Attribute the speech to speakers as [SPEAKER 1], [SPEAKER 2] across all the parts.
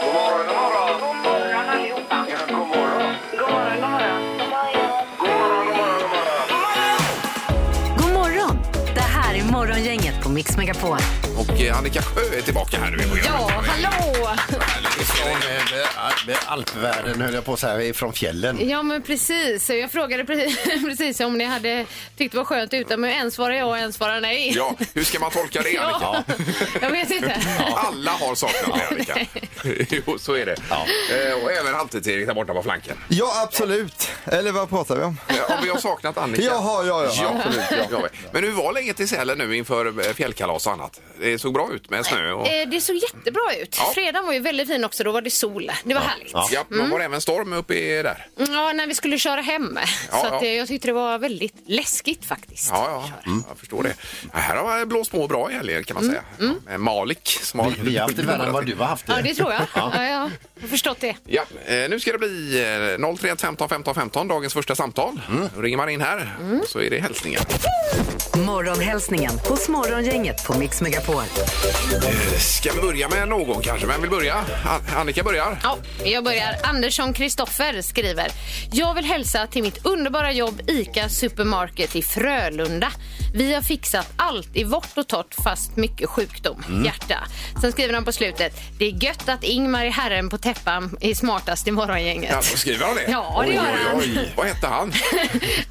[SPEAKER 1] God morgon, god morgon.
[SPEAKER 2] God morgon allihopa.
[SPEAKER 1] Ja, god morgon.
[SPEAKER 2] God morgon, god morgon.
[SPEAKER 1] God morgon, god morgon, god morgon.
[SPEAKER 3] God morgon! Det här är Morgongänget på Mix Megapol.
[SPEAKER 4] Och eh, Annika Sjö är tillbaka här nu i programmet.
[SPEAKER 5] Ja, hallå!
[SPEAKER 6] Från eh, eh, alpvärlden höll jag på att säga, från fjällen.
[SPEAKER 5] Ja, men precis. Jag frågade precis, precis om ni hade tyckt det var skönt utan men en svarade ja och en svarade nej.
[SPEAKER 4] Ja, hur ska man tolka det Annika?
[SPEAKER 5] Ja, jag vet inte.
[SPEAKER 4] Alla har saknat mig Annika. jo, så är det. Eh, och även halvtids-Erik där borta på flanken.
[SPEAKER 7] Ja, absolut. Eller vad pratar vi om?
[SPEAKER 4] Eh, Har vi har saknat Annika?
[SPEAKER 7] Jaha, ja, ja,
[SPEAKER 4] absolut. Men hur var läget i Sälen nu inför eh, fjällkalas och annat? Det såg bra ut med snö och...
[SPEAKER 5] Eh, Det såg jättebra ut.
[SPEAKER 4] Ja.
[SPEAKER 5] Fredagen var ju väldigt fin också. Då var det sol. Det var härligt. Mm,
[SPEAKER 4] Ja,
[SPEAKER 6] mm.
[SPEAKER 4] men var det även storm uppe där?
[SPEAKER 5] Ja, när vi skulle köra hem.
[SPEAKER 4] Ja,
[SPEAKER 5] så att,
[SPEAKER 4] ja.
[SPEAKER 5] eh, jag tyckte det var väldigt läskigt faktiskt.
[SPEAKER 4] Ja, ja
[SPEAKER 6] Mm.
[SPEAKER 4] jag förstår det. Ja, Här har det blåst på bra i helgen kan man säga. Ja, med Malik som har...
[SPEAKER 6] Vi, vi har haft Mm. det värre än vad du har haft det.
[SPEAKER 5] Ja, det tror jag. Ja, ja. Jag har förstått det.
[SPEAKER 4] Ja, eh, nu ska det bli eh, 031 15 15 15, dagens första samtal.
[SPEAKER 5] Mm.
[SPEAKER 4] Då ringer man in här så är det hälsningar.
[SPEAKER 3] Morgonhälsningen hos Morgongänget på Mix Megapol.
[SPEAKER 4] Eh, Ska vi börja med någon kanske? Vem vill börja? An- Annika börjar.
[SPEAKER 5] Ja, jag börjar. Andersson Kristoffer skriver. Jag vill hälsa till mitt underbara jobb ICA Supermarket i Frölunda. Vi har fixat allt i vårt och torrt fast mycket sjukdom.
[SPEAKER 4] Mm.
[SPEAKER 5] Hjärta. Sen skriver han på slutet. Det är gött att Ingmar är herren på täppan är smartast i morgongänget.
[SPEAKER 4] Ja, skriver han det?
[SPEAKER 5] Ja, det gör han.
[SPEAKER 4] Vad hette han?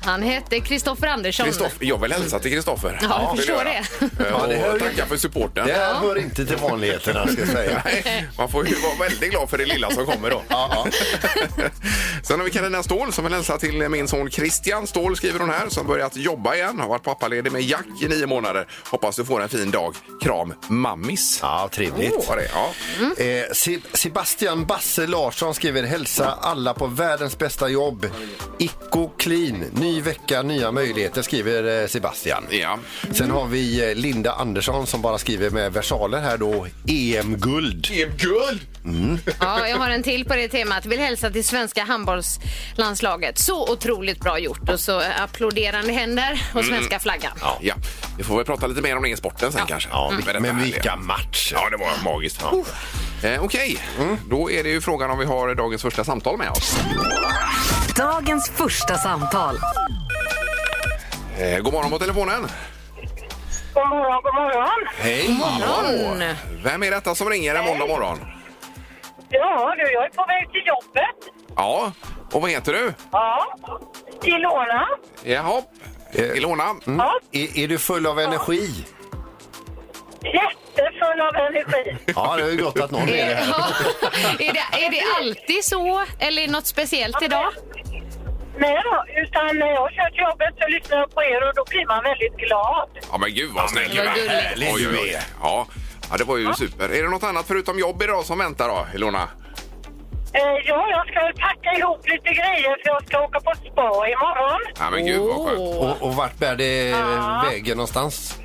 [SPEAKER 5] Han hette Kristoffer Andersson.
[SPEAKER 4] Kristoff- jag vill hälsa till Kristoffer.
[SPEAKER 5] Ja, jag
[SPEAKER 4] vill
[SPEAKER 5] förstår
[SPEAKER 4] göra.
[SPEAKER 5] det.
[SPEAKER 4] Eh,
[SPEAKER 6] Ja, det hör
[SPEAKER 4] Och
[SPEAKER 6] ju-
[SPEAKER 4] tacka för supporten.
[SPEAKER 6] Det här hör inte till vanligheterna ska jag säga.
[SPEAKER 4] Nej, Man får ju vara väldigt glad för det lilla som kommer då. Sen har vi Carina Ståhl som vill hälsa till min son Christian Ståhl skriver hon här som börjat jobba igen. Har varit pappaledig med Jack i nio månader. Hoppas du får en fin dag. Kram mammis.
[SPEAKER 6] Ja, trevligt.
[SPEAKER 4] Var det? Ja.
[SPEAKER 6] Eh, Se- Sebastian Basse Larsson skriver hälsa alla på världens bästa jobb. Icko Clean, ny vecka, nya möjligheter skriver eh, Sebastian.
[SPEAKER 4] Ja.
[SPEAKER 6] Sen har vi eh, Linda Andersson som bara skriver med versaler här då, EM-guld.
[SPEAKER 4] Guld!
[SPEAKER 5] Ja, jag har en till på det temat. Vill hälsa till svenska handbollslandslaget. Så otroligt bra gjort. Och så applåderande händer och svenska flaggan.
[SPEAKER 4] Mm. Ja. Vi får väl prata lite mer om den sporten sen kanske.
[SPEAKER 6] Ja,
[SPEAKER 4] Med detta
[SPEAKER 6] men
[SPEAKER 4] här.
[SPEAKER 6] vilka matcher!
[SPEAKER 4] Ja, det var magiskt. Ja. Eh, Okej,
[SPEAKER 6] Mm.
[SPEAKER 4] då är det ju frågan om vi har dagens första samtal med oss.
[SPEAKER 3] Dagens första samtal.
[SPEAKER 4] Eh, god morgon på telefonen.
[SPEAKER 2] God morgon, god morgon.
[SPEAKER 4] Hej!
[SPEAKER 5] morgon.
[SPEAKER 4] Vem är detta som ringer en måndag morgon?
[SPEAKER 2] Ja, du, jag är på väg till jobbet.
[SPEAKER 4] Ja, och vad heter du?
[SPEAKER 2] Ja. Till Låna.
[SPEAKER 4] Jaha, Eh, Ilona.
[SPEAKER 2] Ja.
[SPEAKER 6] Är, är du full av energi?
[SPEAKER 2] Jättefull av energi.
[SPEAKER 6] Ja, det är ju gott att någon är det här.
[SPEAKER 5] Ja. Är, det, är det alltid så eller är det något speciellt idag?
[SPEAKER 2] Nej då, utan när jag kör till jobbet så lyssnar jag på er och då blir man väldigt glad.
[SPEAKER 4] Ja, men gud vad snäll
[SPEAKER 5] men vad gulligt.
[SPEAKER 4] Oj, oj, oj. Ja. ja, det var ju super. Är det något annat förutom jobb idag som väntar då, Ilona?
[SPEAKER 2] Eh, ja, jag ska packa ihop lite grejer för jag ska åka på spa imorgon.
[SPEAKER 4] Ja, men gud vad skönt.
[SPEAKER 5] Åh.
[SPEAKER 6] Och, och vart bär det vägen någonstans?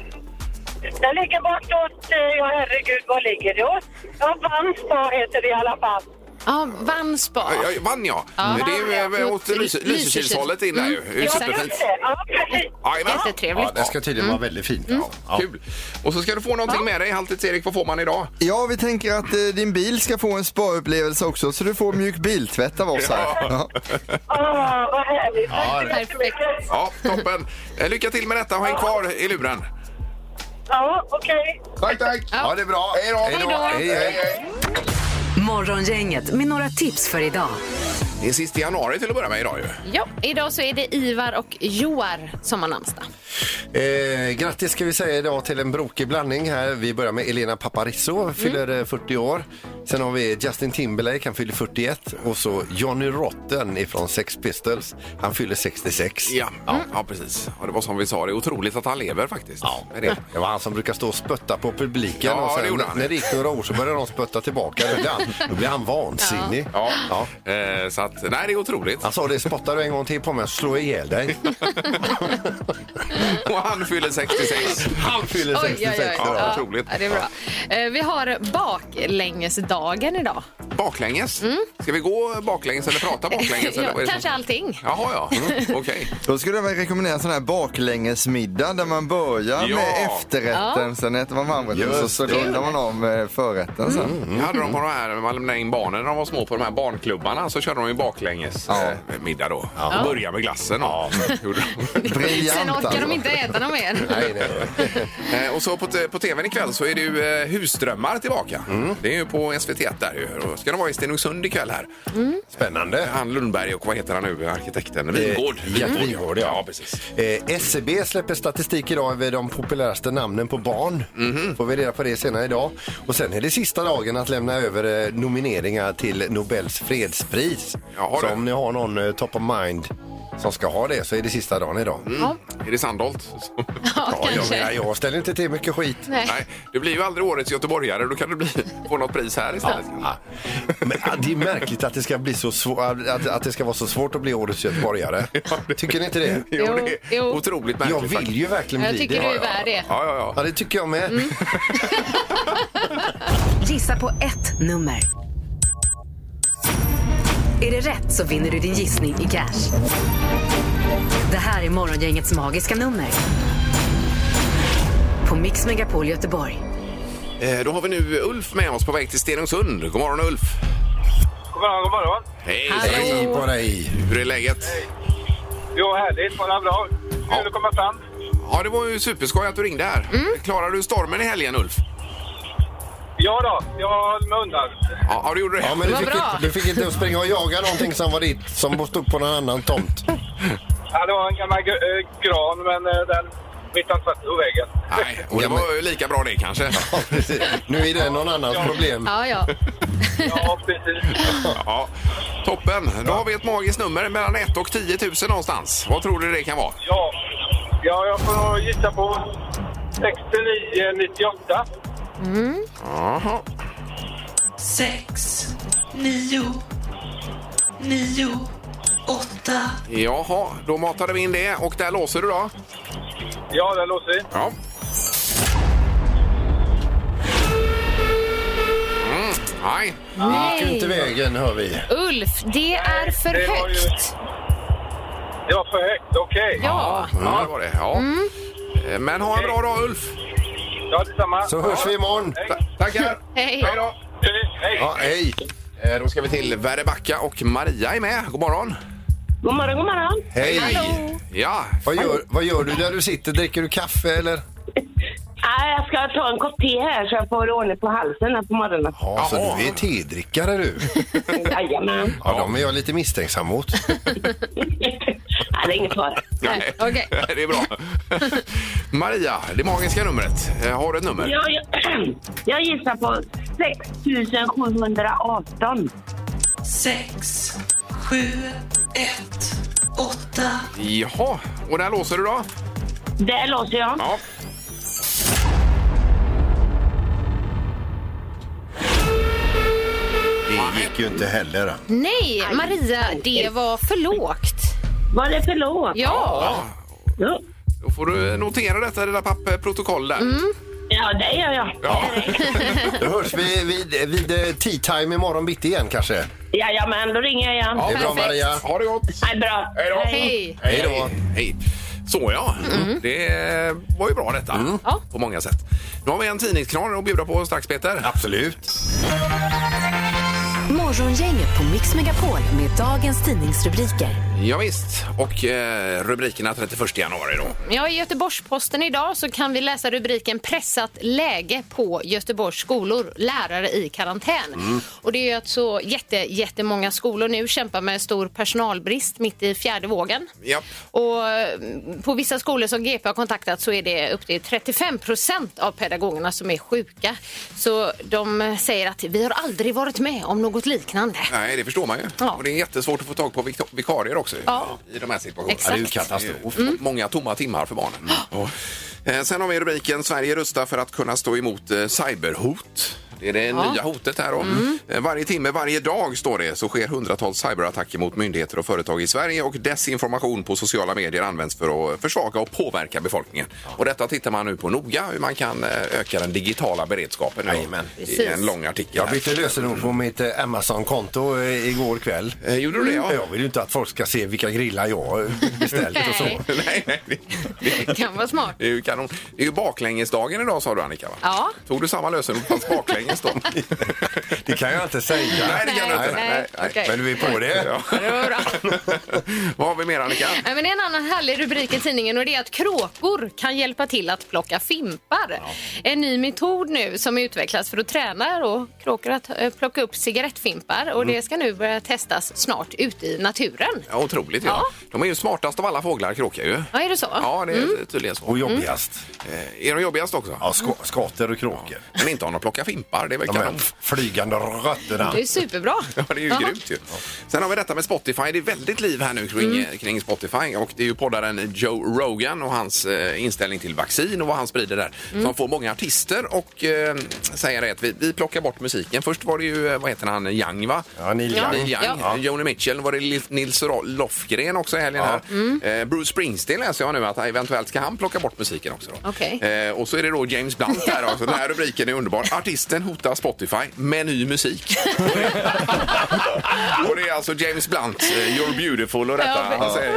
[SPEAKER 2] Den ligger bortåt, eh, ja herregud, var ligger det? åt? Ja, Vansbro heter det i alla fall.
[SPEAKER 5] Ja, Vansbra.
[SPEAKER 4] Ja, jag vann jag. Det är ju eh, åt Lys- Mm. Lysekilshållet in där ju. Det är ju
[SPEAKER 2] Ja,
[SPEAKER 5] Exakt.
[SPEAKER 4] superfint.
[SPEAKER 2] just det. Ja, precis.
[SPEAKER 4] Jajamän.
[SPEAKER 5] Jättetrevligt.
[SPEAKER 6] Det ska tydligen vara väldigt fint. Ja.
[SPEAKER 4] Kul. Och så ska du få någonting med dig. Halvtids-Erik, vad får man idag?
[SPEAKER 7] Ja, vi tänker att eh, din bil ska få en spa-upplevelse också så du får mjuk biltvätt av oss här. Ja.
[SPEAKER 2] Åh, Ah, vad härligt.
[SPEAKER 6] Ja,
[SPEAKER 2] Tack så mycket.
[SPEAKER 4] Ja, toppen. Eh, Lycka till med detta. Häng kvar i luren.
[SPEAKER 2] Ja, okej.
[SPEAKER 4] Tack, tack.
[SPEAKER 6] Ja, det är bra. Hej då! Hej, hej.
[SPEAKER 3] Morgongänget med några tips för idag.
[SPEAKER 4] Det är sista januari till att börja med idag ju.
[SPEAKER 5] Ja, idag så är det Ivar och Joar som har namnsdag.
[SPEAKER 6] Eh, grattis ska vi säga idag till en brokig blandning här. Vi börjar med Elena Paparizou, fyller eh, 40 år. Sen har vi Justin Timberlake, han fyller 41. Och så Johnny Rotten ifrån Sex Pistols, han fyller 66.
[SPEAKER 4] Ja, ja, ja precis. Ja, det var som vi sa, det är otroligt att han lever faktiskt.
[SPEAKER 6] Ja,
[SPEAKER 4] Med det.
[SPEAKER 6] det var han som brukade stå och spötta på publiken
[SPEAKER 4] Ja,
[SPEAKER 6] och
[SPEAKER 4] det
[SPEAKER 6] sen
[SPEAKER 4] gjorde han.
[SPEAKER 6] när det gick några år så började de spötta tillbaka. Då blev han, då blev han vansinnig.
[SPEAKER 4] Ja.
[SPEAKER 6] Ja.
[SPEAKER 4] Eh, så att, nej, det är otroligt.
[SPEAKER 6] Han sa det, spottar du en gång till på mig slår jag ihjäl dig.
[SPEAKER 4] Och han fyller 66.
[SPEAKER 6] Han fyller 66
[SPEAKER 4] oj.
[SPEAKER 6] år.
[SPEAKER 4] Ja, otroligt.
[SPEAKER 5] Ja, det är bra. Eh, Vi har baklängesdagen idag.
[SPEAKER 4] baklänges. Ska vi gå baklänges eller prata baklänges? eller
[SPEAKER 5] Ja,
[SPEAKER 4] vad är det som-
[SPEAKER 5] kanske allting.
[SPEAKER 4] Jaha, ja. Mm, Okej.
[SPEAKER 7] Då skulle jag väl rekommendera en sån här baklängesmiddag där man börjar
[SPEAKER 4] Ja.
[SPEAKER 7] med efterrätten,
[SPEAKER 5] Ja.
[SPEAKER 7] sen äter man varmrätten
[SPEAKER 6] Just
[SPEAKER 7] så, så
[SPEAKER 6] det. Mm.
[SPEAKER 7] rundar man av med förrätten sen.
[SPEAKER 4] Jag hade de på de här, man lämnade in barnen när de var små på de här barnklubbarna så körde de ju baklänges
[SPEAKER 7] Ja.
[SPEAKER 4] eh, middag då. Och började med glassen. Ja. Gjorde de.
[SPEAKER 5] Sen
[SPEAKER 7] Briljant
[SPEAKER 5] orkar
[SPEAKER 7] alltså.
[SPEAKER 5] de inte äta dem mer.
[SPEAKER 6] Nej, nej, nej.
[SPEAKER 4] Eh, och så på, t- på tvn ikväll så är det ju eh, Husdrömmar tillbaka. Det är ju på SVT1 där ju. Och ska de vara i Stenungsund ikväll här.
[SPEAKER 6] Spännande.
[SPEAKER 4] Han Lundberg och vad heter han nu, arkitekten? Vingård.
[SPEAKER 6] Gert Wingårdh, ja.
[SPEAKER 4] ja precis.
[SPEAKER 6] Eh, SCB släpper statistik idag över de populäraste namnen på barn.
[SPEAKER 4] Mhm.
[SPEAKER 6] Får vi reda på det senare idag. Och sen är det sista dagen att lämna över eh, nomineringar till Nobels fredspris.
[SPEAKER 4] Jaha,
[SPEAKER 6] så
[SPEAKER 4] du.
[SPEAKER 6] om ni har någon eh, top of mind som ska ha det så är det sista dagen idag.
[SPEAKER 5] Ja,
[SPEAKER 4] Är det Sandholt? som-
[SPEAKER 5] ja,
[SPEAKER 6] Jag, menar,
[SPEAKER 5] kanske.
[SPEAKER 6] jag ställer inte till mycket skit.
[SPEAKER 5] Nej.
[SPEAKER 4] Nej, du blir ju aldrig årets göteborgare. Då kan du bli, få något pris här istället.
[SPEAKER 6] Ah. Men, ah, det är märkligt att det, ska bli så svår, att, att det ska vara så svårt att bli årets göteborgare. Tycker ni inte det?
[SPEAKER 4] Jo, det är
[SPEAKER 5] Jo, jo.
[SPEAKER 4] otroligt
[SPEAKER 6] Jag
[SPEAKER 4] märkligt.
[SPEAKER 6] vill
[SPEAKER 4] faktiskt.
[SPEAKER 6] ju verkligen
[SPEAKER 5] Jag
[SPEAKER 6] bli
[SPEAKER 5] tycker
[SPEAKER 6] det.
[SPEAKER 5] du är Mm. värd det.
[SPEAKER 4] Ja, ja,
[SPEAKER 6] Ja,
[SPEAKER 4] ja.
[SPEAKER 6] det tycker jag med.
[SPEAKER 3] Gissa på ett nummer. Är det rätt så vinner du din gissning i cash. Det här är Morgongängets magiska nummer. På Mix Megapol Göteborg.
[SPEAKER 4] Eh, Då har vi nu Ulf med oss på väg till Stenungsund. God morgon Ulf!
[SPEAKER 8] God morgon, god morgon.
[SPEAKER 4] Hej!
[SPEAKER 5] Hallå.
[SPEAKER 6] Hej på dig.
[SPEAKER 4] Hur är läget?
[SPEAKER 8] Jo, härligt. Bara bra. Kul att komma fram.
[SPEAKER 4] Ja, det var ju superskoj att du ringde här.
[SPEAKER 5] Mm.
[SPEAKER 4] Klarade du stormen i helgen Ulf?
[SPEAKER 8] Ja då, jag höll mig undan.
[SPEAKER 4] Ja, ja, du gjorde det.
[SPEAKER 6] Ja, men du
[SPEAKER 5] Vad
[SPEAKER 6] fick,
[SPEAKER 5] bra.
[SPEAKER 6] inte, du fick inte springa och jaga någonting som var ditt, som stod på någon annan tomt.
[SPEAKER 8] Ja, det var en gammal gr- eh, gran, men eh, den mitt han satt på väggen.
[SPEAKER 4] Nej, och det
[SPEAKER 6] Ja, men-
[SPEAKER 4] var ju lika bra det kanske.
[SPEAKER 6] nu är det någon annans problem.
[SPEAKER 5] Ja, ja.
[SPEAKER 8] Ja, precis.
[SPEAKER 4] Ja, toppen! Då har vi ett magiskt nummer mellan 1 och 10 000 någonstans. Vad tror du det kan vara?
[SPEAKER 8] Ja, ja jag får nog gissa på 69, 98.
[SPEAKER 4] Jaha.
[SPEAKER 9] sex, nio, nio, åtta,
[SPEAKER 4] Jaha, då matade vi in det och där låser du då?
[SPEAKER 8] Ja, det låter vi.
[SPEAKER 4] Ja. Mm, nej.
[SPEAKER 6] Gick ju inte vägen, hör vi.
[SPEAKER 5] Ulf, det är för
[SPEAKER 8] det var ju-
[SPEAKER 5] högt.
[SPEAKER 8] Det var för högt. Okej.
[SPEAKER 5] Ja.
[SPEAKER 4] Ja, det var det. Ja. Eh, Men ha en bra dag, Ulf.
[SPEAKER 8] Ja, detsamma.
[SPEAKER 6] Så hörs vi imorgon.
[SPEAKER 8] Hej.
[SPEAKER 4] Ta- Tackar.
[SPEAKER 5] Hej.
[SPEAKER 4] Hej då.
[SPEAKER 8] Hej.
[SPEAKER 6] Ja, hej.
[SPEAKER 4] Eh, Då ska vi till Väröbacka och Maria är med. God morgon.
[SPEAKER 2] God morgon, god morgon.
[SPEAKER 6] Hej.
[SPEAKER 4] Ja,
[SPEAKER 6] Vad gör, vad gör du där du sitter? Dricker du kaffe eller?
[SPEAKER 2] Nej, jag ska ta en kopp te här så jag får ordning på halsen här på morgonen.
[SPEAKER 6] Ja, så
[SPEAKER 4] Jaha.
[SPEAKER 6] du är tedrickare du.
[SPEAKER 2] Jajamän.
[SPEAKER 6] Ja, de är jag lite misstänksam mot.
[SPEAKER 2] Nej, det är ingen fara.
[SPEAKER 4] nej.
[SPEAKER 5] okej.
[SPEAKER 4] det är bra. Maria, det magiska numret. Eh, Har du ett nummer?
[SPEAKER 2] Jag, jag, jag gissar på 6718.
[SPEAKER 9] sex, sju, ett, åtta,
[SPEAKER 4] Jaha, och där låser du då?
[SPEAKER 2] Där låser jag.
[SPEAKER 4] Ja.
[SPEAKER 6] Det gick ju inte heller.
[SPEAKER 5] Nej, Maria, det var för lågt.
[SPEAKER 2] Var det för lågt?
[SPEAKER 5] Ja,
[SPEAKER 4] ja.
[SPEAKER 2] Ja.
[SPEAKER 4] Då får du notera detta i dina papper, protokoll där.
[SPEAKER 2] ja, det gör jag.
[SPEAKER 4] Ja.
[SPEAKER 6] Då hörs vi vid, vid eh, tea time imorgon bitti igen kanske.
[SPEAKER 2] Jajamän, då ringer jag igen.
[SPEAKER 4] Ja,
[SPEAKER 6] Det är bra
[SPEAKER 5] perfekt.
[SPEAKER 6] Maria.
[SPEAKER 4] Ha det gott!
[SPEAKER 2] Nej, bra.
[SPEAKER 4] Hej då!
[SPEAKER 5] hej.
[SPEAKER 4] Hej Mm. då! Hej. Så ja, det var ju bra detta
[SPEAKER 5] Ja.
[SPEAKER 4] på många sätt. Nu har vi en tidningskran att bjuda på strax Peter.
[SPEAKER 6] Absolut.
[SPEAKER 3] Morgongänget på Mix Megapol med dagens tidningsrubriker.
[SPEAKER 4] Ja, visst. och eh, rubrikerna 31 januari då.
[SPEAKER 5] Ja, I Göteborgs-Posten idag så kan vi läsa rubriken Pressat läge på Göteborgs skolor. Lärare i karantän. Och Det är ju att så jätte, jättemånga skolor nu kämpar med stor personalbrist mitt i fjärde vågen.
[SPEAKER 4] Japp.
[SPEAKER 5] Och eh, på vissa skolor som GP har kontaktat så är det upp till 35 procent av pedagogerna som är sjuka. Så de säger att vi har aldrig varit med om något liknande.
[SPEAKER 4] Nej, det förstår man ju.
[SPEAKER 5] Ja.
[SPEAKER 4] Och det är jättesvårt att få tag på vik- vikarier också
[SPEAKER 5] Ja.
[SPEAKER 4] i de här situationerna.
[SPEAKER 5] Exakt. Mm. Ja, det är ju
[SPEAKER 4] katastrof. Många tomma timmar för barnen. Och, eh, sen har vi rubriken Sverige rustar för att kunna stå emot eh, cyberhot. Det är det nya hotet här. Om.
[SPEAKER 5] Mm.
[SPEAKER 4] Varje timme, varje dag står det, så sker hundratals cyberattacker mot myndigheter och företag i Sverige och desinformation på sociala medier används för att försvaga och påverka befolkningen. Och detta tittar man nu på noga, hur man kan eh, öka den digitala beredskapen. nu.
[SPEAKER 6] Jajamän.
[SPEAKER 4] I en lång artikel.
[SPEAKER 6] Jag
[SPEAKER 4] här.
[SPEAKER 6] bytte lösenord på mitt eh, Amazon-konto eh, igår kväll. Mm,
[SPEAKER 4] Eh, Gjorde du det?
[SPEAKER 5] Mm.
[SPEAKER 4] Ja.
[SPEAKER 6] Jag vill ju inte att folk ska se vilka grillar jag eh, beställt och så.
[SPEAKER 5] Nej.
[SPEAKER 4] nej, nej. det-
[SPEAKER 5] Det kan vara smart.
[SPEAKER 4] Det är ju kanon. Det är ju baklängesdagen idag sa du Annika va?
[SPEAKER 5] Ja.
[SPEAKER 4] Tog du samma lösenord fast baklänges då?
[SPEAKER 6] Det kan jag inte säga.
[SPEAKER 4] Nej, det kan du inte.
[SPEAKER 5] Nej,
[SPEAKER 4] nej.
[SPEAKER 5] okej.
[SPEAKER 6] Men du är på det.
[SPEAKER 4] Ja. Mm.
[SPEAKER 5] Ja, det var bra.
[SPEAKER 4] Vad har vi mer Annika?
[SPEAKER 5] Nej, men det är en annan härlig rubrik i tidningen och det är att kråkor kan hjälpa till att plocka fimpar. En ny metod nu som utvecklas för att träna då, kråkor att eh, plocka upp cigarettfimpar och det ska nu börja testas snart ute i naturen.
[SPEAKER 4] Mm. Ja, otroligt ja. De är ju smartast av alla fåglar, kråkor ju.
[SPEAKER 5] Ja, är det så?
[SPEAKER 4] Ja, det är tydligen så.
[SPEAKER 6] Och jobbigast.
[SPEAKER 4] Eh, Är de jobbigast också?
[SPEAKER 6] Ja, ska, skater och kråkor.
[SPEAKER 4] Men inte om de plockar fimpar, det är väl
[SPEAKER 6] De här
[SPEAKER 4] kanon.
[SPEAKER 6] flygande rötterna.
[SPEAKER 5] Det är superbra.
[SPEAKER 4] Ja, det är ju
[SPEAKER 5] Ja.
[SPEAKER 4] grymt ju. Sen har vi detta med Spotify. Det är väldigt liv här nu kring,
[SPEAKER 5] Mm.
[SPEAKER 4] kring Spotify och det är ju poddaren Joe Rogan och hans eh, inställning till vaccin och vad han sprider där
[SPEAKER 5] Mm.
[SPEAKER 4] som får många artister och eh, säger det att vi, vi plockar bort musiken. Först var det ju, eh, vad heter han, Young va?
[SPEAKER 6] Ja, Neil
[SPEAKER 5] Ja.
[SPEAKER 4] Neil
[SPEAKER 6] Young.
[SPEAKER 4] Young,
[SPEAKER 5] Ja.
[SPEAKER 4] Joni Mitchell, var det Li- Nils Ro- Lofgren också i helgen här.
[SPEAKER 6] Mm.
[SPEAKER 4] Eh, Bruce Springsteen läser jag nu att eventuellt ska han plocka bort musiken också. Då.
[SPEAKER 5] Okej.
[SPEAKER 4] Eh, och så är det då James Blunt här också. Den här rubriken är underbar. Artisten hotar Spotify med ny musik. och det är alltså James Blunt, eh, You're beautiful och detta.
[SPEAKER 5] Ja,
[SPEAKER 4] Han säger,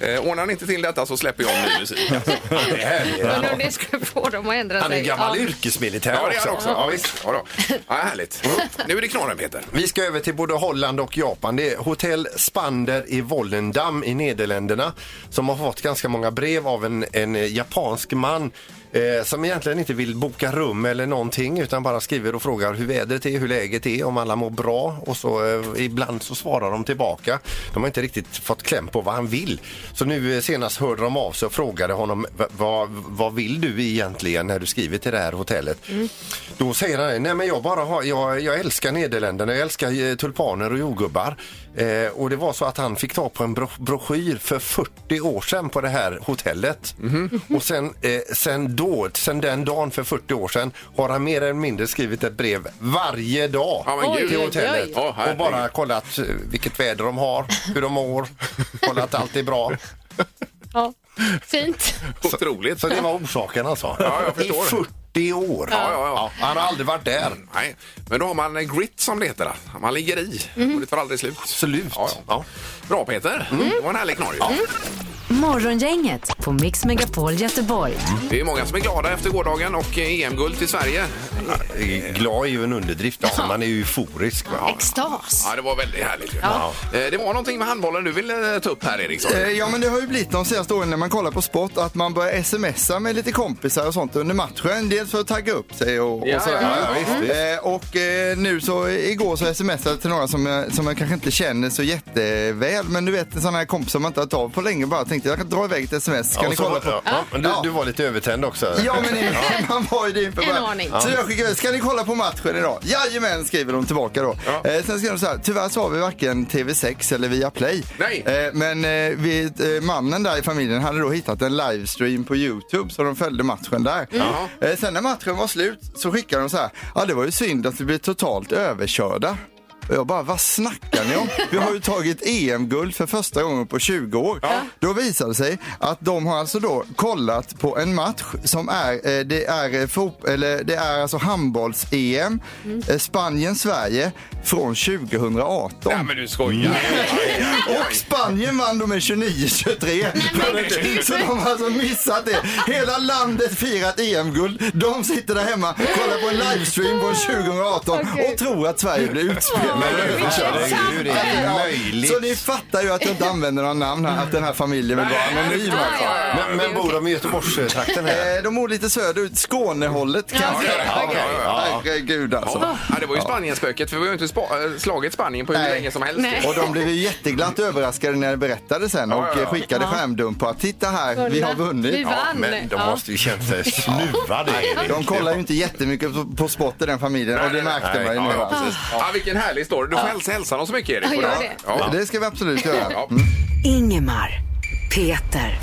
[SPEAKER 4] eh, ordnar ni inte till detta så släpper jag ny musik. Alltså.
[SPEAKER 6] Det här är-
[SPEAKER 5] Undrar om det skulle få dem att ändra
[SPEAKER 6] Han är
[SPEAKER 5] sig.
[SPEAKER 6] gammal
[SPEAKER 5] Ja.
[SPEAKER 6] yrkesmilitär
[SPEAKER 4] Ja, det är
[SPEAKER 6] också.
[SPEAKER 4] han också. Ja, visst. Ja, då. ja, härligt. Nu är det knorren, Peter.
[SPEAKER 6] Vi ska över till både Holland och Japan. Det är Hotell Spander i Volendam i Nederländerna som har fått ganska många brev av en, en eh, japansk man eh, som egentligen inte vill boka rum eller någonting utan bara skriver och frågar hur vädret är, hur läget är, om alla mår bra och så eh, ibland så svarar de tillbaka. De har inte riktigt fått kläm på vad han vill. Så nu eh, senast hörde de av sig och frågade honom "Va- vad, vad vill du egentligen när du skriver till det här hotellet? Då säger han nej men jag bara har, jag, jag älskar Nederländerna, jag älskar eh, tulpaner och jordgubbar. Eh, och det var så att han fick ta på en bro broschyr för 40 år sedan på det här hotellet.
[SPEAKER 4] Mhm.
[SPEAKER 6] Och sen, eh, sen då, sen den dagen för 40 år sedan har han mer eller mindre skrivit ett brev varje dag
[SPEAKER 4] Ja, men Oj, gud.
[SPEAKER 6] till
[SPEAKER 4] oj,
[SPEAKER 6] hotellet.
[SPEAKER 4] oj. Ja, herregud.
[SPEAKER 6] och bara kollat eh, vilket väder de har, hur de mår, kollat allt är bra.
[SPEAKER 5] Ja. Fint.
[SPEAKER 4] Otroligt.
[SPEAKER 6] Så det var orsaken alltså.
[SPEAKER 4] Ja, jag förstår.
[SPEAKER 6] I 40 år.
[SPEAKER 4] Ja, ja, ja.
[SPEAKER 6] han har aldrig varit där.
[SPEAKER 4] Nej, men då har man eh, grit som det heter. va? Man ligger i och det tar aldrig slut.
[SPEAKER 6] Absolut.
[SPEAKER 4] Ja, ja.
[SPEAKER 6] Ja.
[SPEAKER 4] Bra Peter, det var en härlig knorr ju.
[SPEAKER 3] Morgongänget på Mix Megapol Göteborg.
[SPEAKER 4] Det är många som är glada efter gårdagen och eh, EM-guld till Sverige.
[SPEAKER 6] Glad är ju en underdrift. Alltså, man är ju euforisk. Va?
[SPEAKER 5] Extas.
[SPEAKER 4] Ja, det var väldigt härligt ju. Eh, Det var någonting med handbollen du ville eh, ta upp här Eriksson.
[SPEAKER 7] Eh, Ja men det har ju blivit de senaste åren när man kollar på sport att man börjar smsa med lite kompisar och sånt under matchen. Dels för att tagga upp sig och,
[SPEAKER 4] Ja,
[SPEAKER 7] och sådär.
[SPEAKER 4] ja, ja,
[SPEAKER 7] Eh, Och eh, nu så igår så smsade jag till några som jag, som jag kanske inte känner så jätteväl. Men du vet en sån här kompis som man inte har tagit av på länge bara tänkte jag kan dra iväg ett sms. Kan
[SPEAKER 6] Ja,
[SPEAKER 7] ni
[SPEAKER 6] och så-
[SPEAKER 7] kolla på?
[SPEAKER 6] ja, ja, men du,
[SPEAKER 7] Ja.
[SPEAKER 6] du var lite övertänd också.
[SPEAKER 7] Ja men ni, man var ju det inför
[SPEAKER 5] En
[SPEAKER 7] bara.
[SPEAKER 5] aning.
[SPEAKER 7] Så jag skickade ska ni kolla på matchen idag? Jajamän skriver de tillbaka då. Eh, sen skriver de så här, tyvärr så har vi varken TV6 eller Viaplay.
[SPEAKER 4] Nej.
[SPEAKER 7] Eh, men eh, vi, eh, mannen där i familjen hade då hittat en livestream på Youtube så de följde matchen där.
[SPEAKER 4] Mm.
[SPEAKER 7] Eh, sen när matchen var slut så skickade de så här, ja det var ju synd att vi blev totalt överkörda. Och jag bara, vad snackar ni om? Vi har ju tagit EM-guld för första gången på 20 år. Då visar det sig att de har alltså då kollat på en match som är, eh, det är, eh, fot- eller det är alltså handbolls-EM,
[SPEAKER 4] Mm.
[SPEAKER 7] eh, Spanien-Sverige från 2018.
[SPEAKER 4] Nej men du skojar.
[SPEAKER 7] Och Spanien vann då med 29-23. Så de har alltså missat det. Hela landet firat EM-guld. De sitter där hemma, kollar på en livestream från 2018 och tror att Sverige blir utspelat.
[SPEAKER 6] Herregud, det är ju
[SPEAKER 7] Ja,
[SPEAKER 6] möjligt.
[SPEAKER 7] Så ni fattar ju att jag inte använder några namn här, att den här familjen vill vara anonym. alltså.
[SPEAKER 6] Men, men bor de i Göteborgstrakten här?
[SPEAKER 7] Eh, De bor lite söderut, Skånehållet kanske.
[SPEAKER 4] okej,
[SPEAKER 7] Ja,
[SPEAKER 4] okej.
[SPEAKER 7] ja. Herregud alltså.
[SPEAKER 4] Ja, det var ju Spanienspöket för vi har ju inte spa- eh, slagit Spanien på hur
[SPEAKER 7] Nej.
[SPEAKER 4] länge som helst.
[SPEAKER 5] Nej.
[SPEAKER 7] Och de blev ju jätteglatt överraskade när det berättade sen och
[SPEAKER 4] Ja, ja, ja.
[SPEAKER 7] eh, skickade skärmdumpar. Titta här, vi har
[SPEAKER 5] Vi
[SPEAKER 7] vunnit.
[SPEAKER 5] vann.
[SPEAKER 6] Men de
[SPEAKER 5] Ja.
[SPEAKER 6] måste ju känt sig snuvade.
[SPEAKER 7] De kollar ju inte jättemycket på, på sport i den familjen och det märkte
[SPEAKER 6] nej,
[SPEAKER 7] man ju
[SPEAKER 6] ja,
[SPEAKER 7] nu.
[SPEAKER 6] ja,
[SPEAKER 7] va?
[SPEAKER 4] Ja, vilken härlig story. Du får hälsa, hälsa dem så mycket Erik.
[SPEAKER 5] Ja,
[SPEAKER 4] på
[SPEAKER 5] gör
[SPEAKER 4] här.
[SPEAKER 5] det.
[SPEAKER 4] Ja.
[SPEAKER 7] Det ska vi absolut göra.
[SPEAKER 4] Ja.
[SPEAKER 3] Ingemar, Peter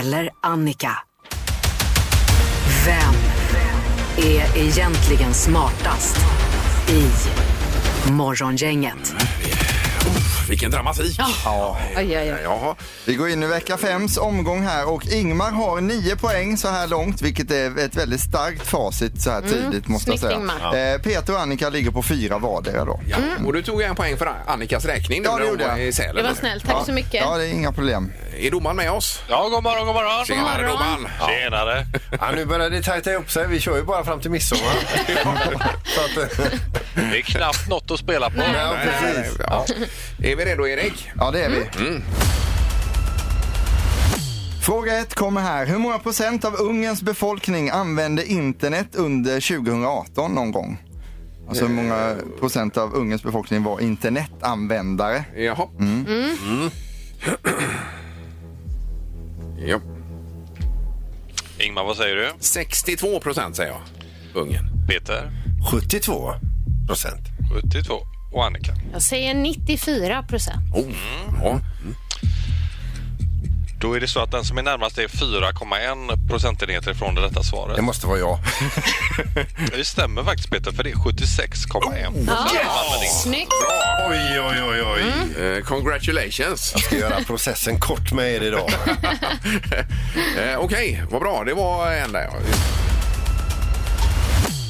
[SPEAKER 3] eller Annika. Vem är egentligen smartast i Morgongänget?
[SPEAKER 4] Vilken dramatik!
[SPEAKER 5] Ja. Oj, oj, oj.
[SPEAKER 4] Jaha.
[SPEAKER 7] Vi går in i vecka fems omgång här och Ingmar har nio poäng så här långt vilket är ett väldigt starkt facit så här tidigt måste jag
[SPEAKER 5] Mm, snyggt,
[SPEAKER 7] säga.
[SPEAKER 5] Ingmar.
[SPEAKER 7] Eh, Peter och Annika ligger på fyra vardera då.
[SPEAKER 4] Ja. Och du tog en poäng för Annikas räkning.
[SPEAKER 7] Ja,
[SPEAKER 4] när
[SPEAKER 7] det
[SPEAKER 4] hon
[SPEAKER 7] gjorde
[SPEAKER 4] var
[SPEAKER 7] jag.
[SPEAKER 4] I Sälen.
[SPEAKER 5] Mm. Det var snällt. Tack så mycket.
[SPEAKER 7] Ja, det är inga problem.
[SPEAKER 4] Är domaren med oss?
[SPEAKER 10] Ja, god morgon, god morgon.
[SPEAKER 4] Tjenare
[SPEAKER 5] morgon.
[SPEAKER 4] domaren!
[SPEAKER 10] Tjenare.
[SPEAKER 6] Ja, nu börjar det tajta ihop sig. Vi kör ju bara fram till midsommar. Så att, eh,
[SPEAKER 10] Det är knappt något att spela på.
[SPEAKER 6] ja, precis.
[SPEAKER 4] Ja. Är vi redo Erik?
[SPEAKER 7] Ja, det är vi.
[SPEAKER 6] Mm.
[SPEAKER 7] Fråga ett kommer här. Hur många procent av Ungerns befolkning använde internet under 2018 någon gång? Alltså hur många procent av Ungerns befolkning var internetanvändare?
[SPEAKER 4] Jaha. Mm. Ja.
[SPEAKER 10] Ingmar, vad säger du?
[SPEAKER 4] 62 procent säger jag. Ungern.
[SPEAKER 10] Peter?
[SPEAKER 6] 72 procent.
[SPEAKER 10] 72. Och Annika?
[SPEAKER 5] Jag säger 94 procent.
[SPEAKER 4] Oh. Ja.
[SPEAKER 10] Då är det så att den som är närmast är 4,1 procentenheter från det rätta svaret.
[SPEAKER 6] Det måste vara jag.
[SPEAKER 10] Det stämmer faktiskt Peter, för det är 76,1.
[SPEAKER 4] Oh
[SPEAKER 5] Snyggt!
[SPEAKER 6] Oj, oj, oj, oj.
[SPEAKER 4] Eh, congratulations!
[SPEAKER 6] Jag ska göra processen kort med er idag.
[SPEAKER 4] eh, Okej, vad bra. Det var en där. ja.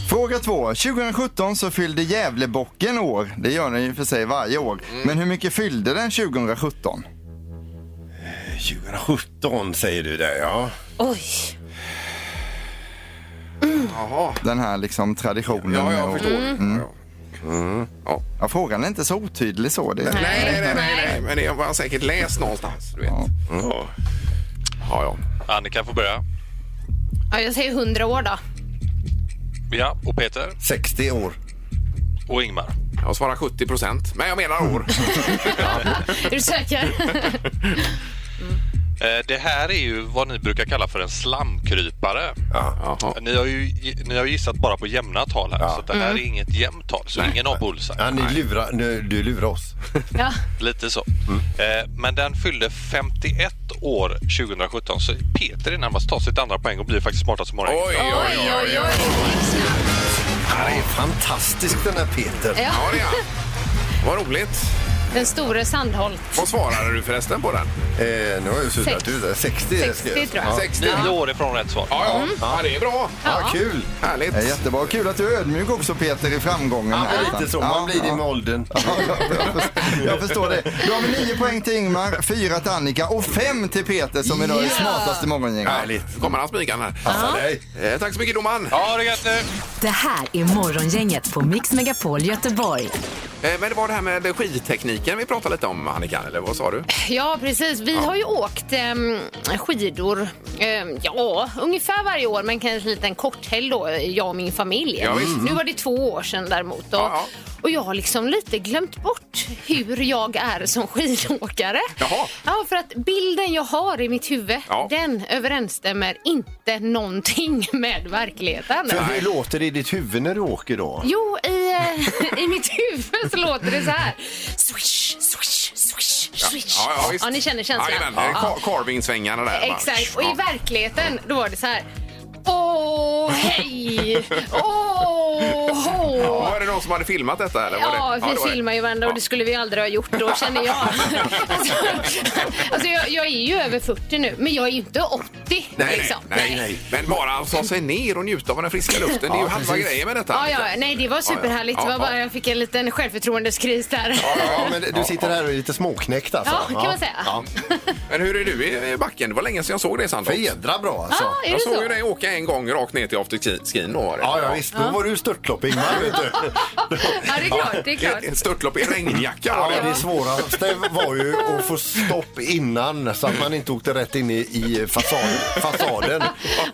[SPEAKER 7] Fråga två. 2017 så fyllde Gävlebocken år. Det gör den ju för sig varje år.
[SPEAKER 6] Mm.
[SPEAKER 7] Men hur mycket fyllde den 2017?
[SPEAKER 6] 2017 säger du det, ja.
[SPEAKER 5] Oj.
[SPEAKER 4] Jaha.
[SPEAKER 7] Den här liksom traditionen.
[SPEAKER 4] Ja,
[SPEAKER 7] och-
[SPEAKER 4] jag förstår. Ja. Ja.
[SPEAKER 7] Ja, frågan är inte så otydlig så. Det är...
[SPEAKER 4] Nej, nej, nej, nej, nej. Men det har jag säkert läst någonstans. Du vet.
[SPEAKER 7] Ja.
[SPEAKER 4] Ja. Ja, ja.
[SPEAKER 10] Annika får börja.
[SPEAKER 5] Ja, jag säger 100 år då.
[SPEAKER 10] Ja, och Peter?
[SPEAKER 6] 60 år.
[SPEAKER 10] Och Ingmar?
[SPEAKER 4] Jag svarar 70 procent. Men jag menar år.
[SPEAKER 5] Är du säker?
[SPEAKER 10] Eh, Det här är ju vad ni brukar kalla för en slamkrypare.
[SPEAKER 4] Jaha.
[SPEAKER 10] Ni har ju ni har ju gissat bara på jämna tal här, så att det här är inget jämnt tal. Så ingen har bullseye.
[SPEAKER 6] Ja, ni lurar, nu, du lurar oss.
[SPEAKER 5] ja.
[SPEAKER 10] Lite så. Eh, Men den fyllde 51 år 2017, så Peter är närmast tar sitt andra poäng och blir faktiskt smartast i morgon.
[SPEAKER 4] Oj, oj, oj.
[SPEAKER 5] oj, oj.
[SPEAKER 6] Han är fantastisk den här Peter.
[SPEAKER 5] Ja.
[SPEAKER 4] Ja, det är han. Vad roligt.
[SPEAKER 5] Den store Sandholt.
[SPEAKER 4] Vad svarade du förresten på den?
[SPEAKER 6] Eh, nu har jag ju suddat ut det. 60,
[SPEAKER 5] 60 tror jag.
[SPEAKER 4] 60?
[SPEAKER 10] Nio år ifrån rätt svar.
[SPEAKER 4] Ja, ja. Mm. ja, det är bra.
[SPEAKER 6] Ja, kul.
[SPEAKER 4] Härligt.
[SPEAKER 7] Ja, Jättebra. Kul att du är ödmjuk också Peter i framgången.
[SPEAKER 6] Ja,
[SPEAKER 7] här.
[SPEAKER 6] men lite så.
[SPEAKER 7] Ja,
[SPEAKER 6] Man blir
[SPEAKER 7] ja.
[SPEAKER 6] det med åldern.
[SPEAKER 7] Ja, jag, förstår, jag förstår det. Då har vi nio poäng till Ingmar, fyra till Annika och fem till Peter som idag är smartast i morgongänget.
[SPEAKER 4] Härligt. kommer han smygande här.
[SPEAKER 6] Passa dig.
[SPEAKER 4] Eh, tack så mycket domaren.
[SPEAKER 10] Ja, det är gött nu!
[SPEAKER 3] Det här är Morgongänget på Mix Megapol Göteborg.
[SPEAKER 4] Eh, men det var det här med skidtekniken vi pratade lite om Annika, eller vad
[SPEAKER 5] Eh,
[SPEAKER 4] sa du?
[SPEAKER 5] Ja, precis. Vi har ju åkt ehm, skidor ehm, ja, ungefär varje år, men kanske en liten korthelg då, jag och min familj.
[SPEAKER 4] Ja, visst.
[SPEAKER 5] Nu var det två år sedan däremot. Och,
[SPEAKER 4] Ja, ja.
[SPEAKER 5] och jag har liksom lite glömt bort hur jag är som skidåkare.
[SPEAKER 4] Jaha.
[SPEAKER 5] Ja, för att bilden jag har i mitt huvud,
[SPEAKER 4] Ja.
[SPEAKER 5] den överensstämmer inte någonting med verkligheten.
[SPEAKER 6] För hur låter det i ditt huvud när du åker då?
[SPEAKER 5] Jo, i, eh, i mitt huvud så låter det så här. Swish, swish, swish, swish.
[SPEAKER 4] Ja, ja, visst.
[SPEAKER 5] ni känner känslan.
[SPEAKER 4] Jajamän, det är
[SPEAKER 5] Ja.
[SPEAKER 4] ca- carving-svängarna där. va?
[SPEAKER 5] Exakt. Och
[SPEAKER 4] Ja.
[SPEAKER 5] i verkligheten, då var det så här. Åh, hej! Åh, hå!
[SPEAKER 4] Var det någon som hade filmat detta? Eller var det?
[SPEAKER 5] Ja,
[SPEAKER 4] det var
[SPEAKER 5] vi
[SPEAKER 4] det.
[SPEAKER 5] filmar ju varandra och det skulle vi aldrig ha gjort då känner jag. Alltså, alltså jag, jag är ju över 40 nu, men jag är ju inte 80
[SPEAKER 4] Nej,
[SPEAKER 5] liksom.
[SPEAKER 4] nej, nej, nej. Men bara att ta sig ner och njuta av den friska luften. det är ju halva grejen med detta.
[SPEAKER 5] Ja, ja,
[SPEAKER 4] Annika.
[SPEAKER 5] nej, det var superhärligt.
[SPEAKER 4] Ja,
[SPEAKER 5] Det
[SPEAKER 4] ja.
[SPEAKER 5] var bara, jag fick en liten självförtroendeskris där.
[SPEAKER 6] Ja, men du sitter här och är lite småknäckt alltså.
[SPEAKER 5] Ja, kan man säga.
[SPEAKER 6] Ja.
[SPEAKER 4] Men hur är du i- i backen? Det var länge sedan jag såg dig, Sandra.
[SPEAKER 6] Fedra bra alltså.
[SPEAKER 5] Ja, Ah, är det
[SPEAKER 4] Jag såg ju
[SPEAKER 5] så?
[SPEAKER 4] dig åka en gång rakt ner till afterskin. då var det.
[SPEAKER 6] Ja, ja visst. Då var du störtlopp Ingmar, vet du.
[SPEAKER 5] Ja, det är klart. Det är klart.
[SPEAKER 4] Ett- Ett störtlopp i en regnjacka var
[SPEAKER 6] Ja,
[SPEAKER 4] det.
[SPEAKER 6] det svåraste var ju att få stopp innan så att man inte åkte rätt in i, i fasad, fasaden.
[SPEAKER 5] Ah,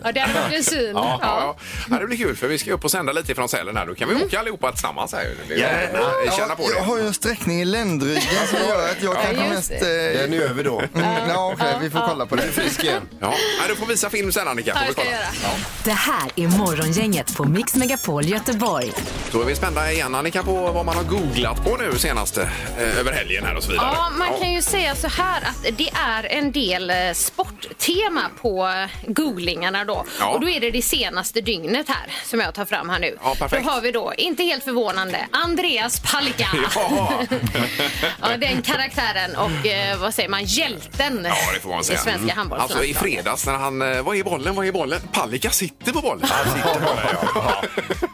[SPEAKER 5] Ja, det hade varit en syn.
[SPEAKER 4] Ja, ja.
[SPEAKER 5] Ja. Mm.
[SPEAKER 4] Ja. det blir kul för vi ska upp och sända lite från Sälen här. Då kan vi åka allihopa tillsammans här. Det blir-
[SPEAKER 6] Gärna.
[SPEAKER 4] Känna på
[SPEAKER 7] Jag har
[SPEAKER 4] det.
[SPEAKER 7] ju en sträckning i ländryggen som gör att jag kanske
[SPEAKER 5] just
[SPEAKER 7] mest...
[SPEAKER 5] det.
[SPEAKER 7] Eh,
[SPEAKER 6] Den är över då.
[SPEAKER 7] mm, ja, okej, vi får kolla på det.
[SPEAKER 6] Frisk igen.
[SPEAKER 4] Ja. Nej, du får visa film sen Annika. Får vi
[SPEAKER 5] Ja, jag ska
[SPEAKER 4] kolla.
[SPEAKER 5] göra.
[SPEAKER 3] Det här är Morgongänget på Mix Megapol Göteborg.
[SPEAKER 4] Då är vi spända igen Annika på vad man har googlat på nu senaste eh, över helgen här och så vidare.
[SPEAKER 5] Ja, man kan ju säga så här att det är en del eh, sporttips nyhetstema på eh, googlingarna då.
[SPEAKER 4] Ja.
[SPEAKER 5] Och då är det det senaste dygnet här som jag tar fram här nu.
[SPEAKER 4] Ja, perfekt.
[SPEAKER 5] Då har vi då, inte helt förvånande, Andreas Palicka.
[SPEAKER 4] Ja.
[SPEAKER 5] ja, den karaktären och eh, vad säger man, hjälten
[SPEAKER 4] Ja, det får man säga.
[SPEAKER 5] i svenska
[SPEAKER 4] Mm. Alltså i
[SPEAKER 5] handbollslandslaget.
[SPEAKER 4] fredags när han... eh, Vad är bollen? Vad är bollen? Palicka sitter på bollen. Han sitter på bollen, ja.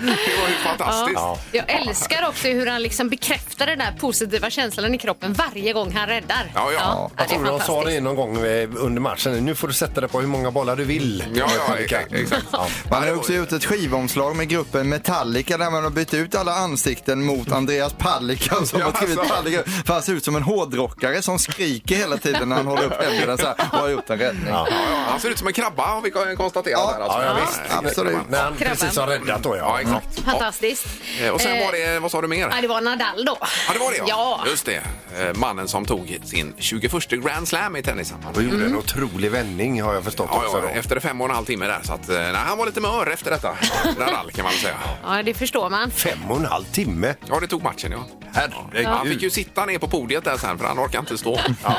[SPEAKER 4] Det var ju fantastiskt.
[SPEAKER 5] Ja. Jag älskar också hur han liksom bekräftar den där positiva känslan i kroppen varje gång han räddar.
[SPEAKER 4] Ja, ja.
[SPEAKER 5] det är
[SPEAKER 6] Jag tror de sa
[SPEAKER 5] fantastiskt.
[SPEAKER 6] det någon gång eh, under matchen. Nu får du sätta dig på hur många bollar du vill.
[SPEAKER 4] Ja,
[SPEAKER 6] med
[SPEAKER 4] ja,
[SPEAKER 6] Palicka.
[SPEAKER 4] e- exakt.
[SPEAKER 6] Ja.
[SPEAKER 7] Man har också gjort ett skivomslag med gruppen Metallica där man har bytt ut alla ansikten mot Andreas Palicka som
[SPEAKER 4] Ja,
[SPEAKER 7] har skrivit
[SPEAKER 4] alltså.
[SPEAKER 7] Palicka. För han ser ut som en hårdrockare som skriker hela tiden när han håller upp händerna så här och har gjort en räddning.
[SPEAKER 4] Ja, ja, han ser ut som en krabba har vi konstaterat.
[SPEAKER 7] Ja.
[SPEAKER 4] här, alltså.
[SPEAKER 6] Ja, ja, visst.
[SPEAKER 7] Absolut.
[SPEAKER 6] När han
[SPEAKER 5] Krabban.
[SPEAKER 6] precis har räddat då,
[SPEAKER 4] Ja,
[SPEAKER 6] ja.
[SPEAKER 4] exakt.
[SPEAKER 5] Fantastiskt.
[SPEAKER 4] Ja. Och sen
[SPEAKER 5] Mm. Eh,
[SPEAKER 4] var det, vad sa du mer?
[SPEAKER 5] Ja, det var Nadal då.
[SPEAKER 4] Ja, det var det ja.
[SPEAKER 5] ja.
[SPEAKER 4] Just det. Eh, Mannen som tog sin 21 Grand Slam i tennis. Han
[SPEAKER 6] Och gjorde en otrolig vändning har jag förstått
[SPEAKER 4] Ja,
[SPEAKER 6] också.
[SPEAKER 4] ja,
[SPEAKER 6] Då.
[SPEAKER 4] efter fem och en halv timme där. Så att, eh, nej, han var lite mör efter detta. Nadal kan man väl säga.
[SPEAKER 5] Ja, det förstår man.
[SPEAKER 6] Fem och en halv timme.
[SPEAKER 4] Ja, det tog matchen ja.
[SPEAKER 6] Herregud.
[SPEAKER 4] Han fick ju sitta ner på podiet där sen för han orkade inte stå. Ja,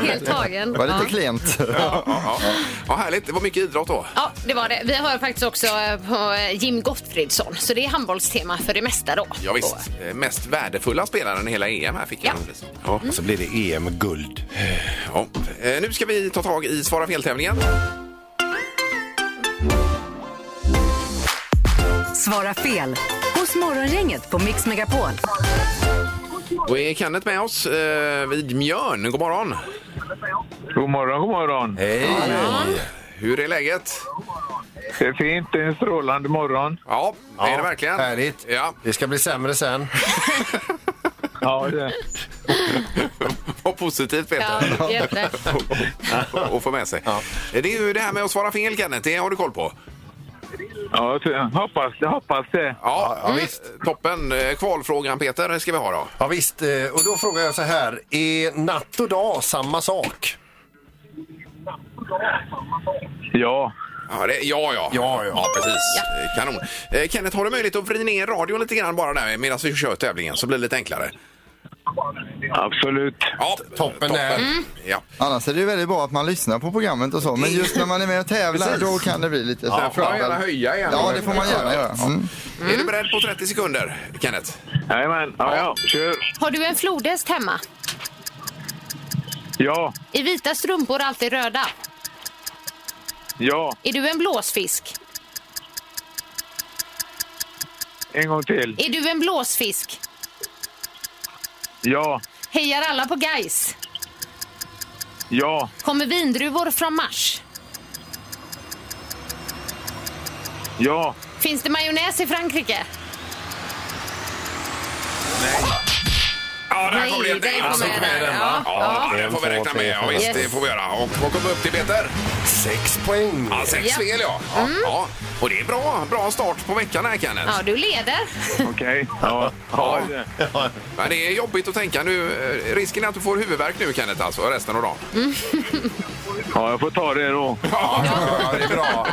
[SPEAKER 5] Helt tagen.
[SPEAKER 7] Det var
[SPEAKER 5] Ja.
[SPEAKER 7] lite klent.
[SPEAKER 4] ja, ja. ja härligt. Det var mycket idrott då.
[SPEAKER 5] Ja, det var det. Vi har faktiskt också eh, på eh, Jim Gottfridsson, så det är handbollstema för det mesta då.
[SPEAKER 4] Ja, visst. Eh, Mest värdefulla spelaren i hela EM här fick
[SPEAKER 5] Ja.
[SPEAKER 4] han. liksom. Ja.
[SPEAKER 6] Och så blir det E EM-guld.
[SPEAKER 4] Ja. Eh, Nu ska vi ta tag i Svara fel-tävlingen.
[SPEAKER 3] Svara fel hos Morgongänget på Mix Megapol.
[SPEAKER 4] Då är Kenneth med oss eh, vid Mjörn. God morgon!
[SPEAKER 8] God morgon, god morgon.
[SPEAKER 6] Hej!
[SPEAKER 4] Hur är läget?
[SPEAKER 8] Det är fint. Det är en strålande morgon.
[SPEAKER 4] Ja, är det verkligen?
[SPEAKER 6] Härligt.
[SPEAKER 4] Ja.
[SPEAKER 6] Det ska bli sämre sen.
[SPEAKER 8] Ja, det.
[SPEAKER 4] Vad positivt,
[SPEAKER 5] Ja,
[SPEAKER 4] Peter.
[SPEAKER 5] jätte.
[SPEAKER 4] och, och få med sig. Eh, Det är ju det här med att svara fel, Kenneth. Det har du koll på.
[SPEAKER 8] Ja, så jag hoppas det. Hoppas det.
[SPEAKER 4] Ja,
[SPEAKER 6] ja, visst.
[SPEAKER 4] Mm. Toppen. Eh, Kvalfrågan, Peter, ska vi ha då.
[SPEAKER 6] Ja, visst. eh, Och då frågar jag så här. Är natt och dag samma sak?
[SPEAKER 8] Ja.
[SPEAKER 4] Ja, det, ja, ja.
[SPEAKER 6] Ja, ja.
[SPEAKER 4] precis. Eh, Kanon. Eh, Kenneth, har du möjlighet att vrida ner radion lite grann bara där medan vi kör tävlingen så blir det lite enklare?
[SPEAKER 8] Absolut.
[SPEAKER 4] Ja,
[SPEAKER 6] toppen där.
[SPEAKER 4] Ja.
[SPEAKER 7] Annars är det ju väldigt bra att man lyssnar på programmet och så, men just när man är med och tävlar då kan det bli lite så här
[SPEAKER 4] Sen får man
[SPEAKER 7] travel.
[SPEAKER 4] gärna höja igen.
[SPEAKER 7] Ja, det får man gärna göra. Mm.
[SPEAKER 4] Är du beredd på 30 sekunder, Kenneth?
[SPEAKER 8] Jajamän. Ja, ja. Kör.
[SPEAKER 5] Har du en flodhäst hemma?
[SPEAKER 8] Ja.
[SPEAKER 5] I vita strumpor alltid röda.
[SPEAKER 8] Ja.
[SPEAKER 5] Är du en blåsfisk?
[SPEAKER 8] En gång till.
[SPEAKER 5] Är du en blåsfisk?
[SPEAKER 8] Ja.
[SPEAKER 5] Hejar alla på guys?
[SPEAKER 8] Ja.
[SPEAKER 5] Kommer vindruvor från Mars?
[SPEAKER 8] Ja.
[SPEAKER 5] Finns det majonnäs i Frankrike?
[SPEAKER 4] Ja, där
[SPEAKER 5] Nej,
[SPEAKER 4] kom det.
[SPEAKER 5] där kom
[SPEAKER 4] alltså,
[SPEAKER 5] den.
[SPEAKER 4] kom den,
[SPEAKER 5] Ja,
[SPEAKER 4] va? Ja,
[SPEAKER 6] ja.
[SPEAKER 4] det får vi räkna med. Ja, visst,
[SPEAKER 5] Yes.
[SPEAKER 4] det får vi göra. Och vad kom upp till, Peter?
[SPEAKER 6] Sex poäng.
[SPEAKER 4] Ja, sex
[SPEAKER 5] Ja.
[SPEAKER 4] fel, ja. Ja, ja. Och det är bra. Bra start på veckan här, Kenneth.
[SPEAKER 5] Ja, du leder.
[SPEAKER 8] Okej. Ja. Ja. det.
[SPEAKER 4] Men det är jobbigt att tänka nu. Eh, Risken är att du får huvudvärk nu, Kenneth, alltså, resten av dagen.
[SPEAKER 8] ja, jag får ta det då.
[SPEAKER 4] Ja, det är bra.